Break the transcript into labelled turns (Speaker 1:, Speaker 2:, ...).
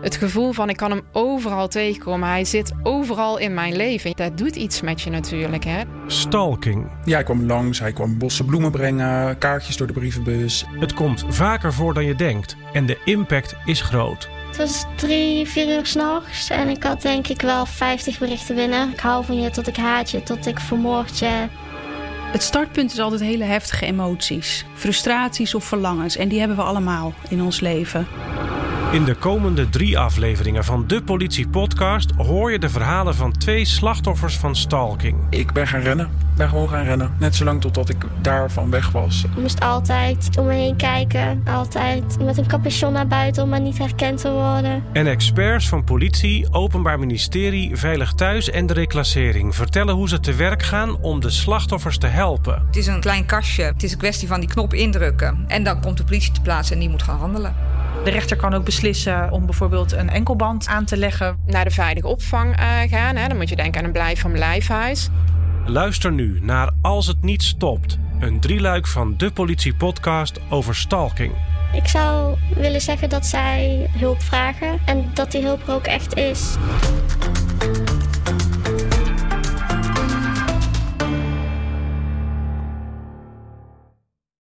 Speaker 1: Het gevoel van ik kan hem overal tegenkomen. Hij zit overal in mijn leven. Dat doet iets met je natuurlijk. Hè?
Speaker 2: Stalking.
Speaker 3: Ja, hij kwam langs, hij kwam bossen bloemen brengen, kaartjes door de brievenbus.
Speaker 2: Het komt vaker voor dan je denkt en de impact is groot.
Speaker 4: Het was drie, vier uur s'nachts en ik had denk ik wel 50 berichten binnen. Ik hou van je tot ik haat je, tot ik vermoord je.
Speaker 5: Het startpunt is altijd hele heftige emoties, frustraties of verlangens. En die hebben we allemaal in ons leven.
Speaker 2: In de komende drie afleveringen van de Politie Podcast hoor je de verhalen van twee slachtoffers van stalking.
Speaker 3: Ik ben gaan rennen, ben gewoon gaan rennen. Net zolang totdat ik daarvan weg was.
Speaker 4: Ik moest altijd om me heen kijken, altijd met een capuchon naar buiten om maar niet herkend te worden.
Speaker 2: En experts van politie, Openbaar Ministerie, Veilig Thuis en de Reclassering vertellen hoe ze te werk gaan om de slachtoffers te helpen.
Speaker 6: Het is een klein kastje. Het is een kwestie van die knop indrukken. En dan komt de politie te plaatsen en die moet gaan handelen.
Speaker 7: De rechter kan ook beslissen om bijvoorbeeld een enkelband aan te leggen.
Speaker 1: Naar de veilige opvang eh, gaan. Hè? Dan moet je denken aan een blijf van blijfhuis.
Speaker 2: Luister nu naar Als het niet stopt, een drieluik van de Politie Podcast over stalking.
Speaker 4: Ik zou willen zeggen dat zij hulp vragen en dat die hulp er ook echt is.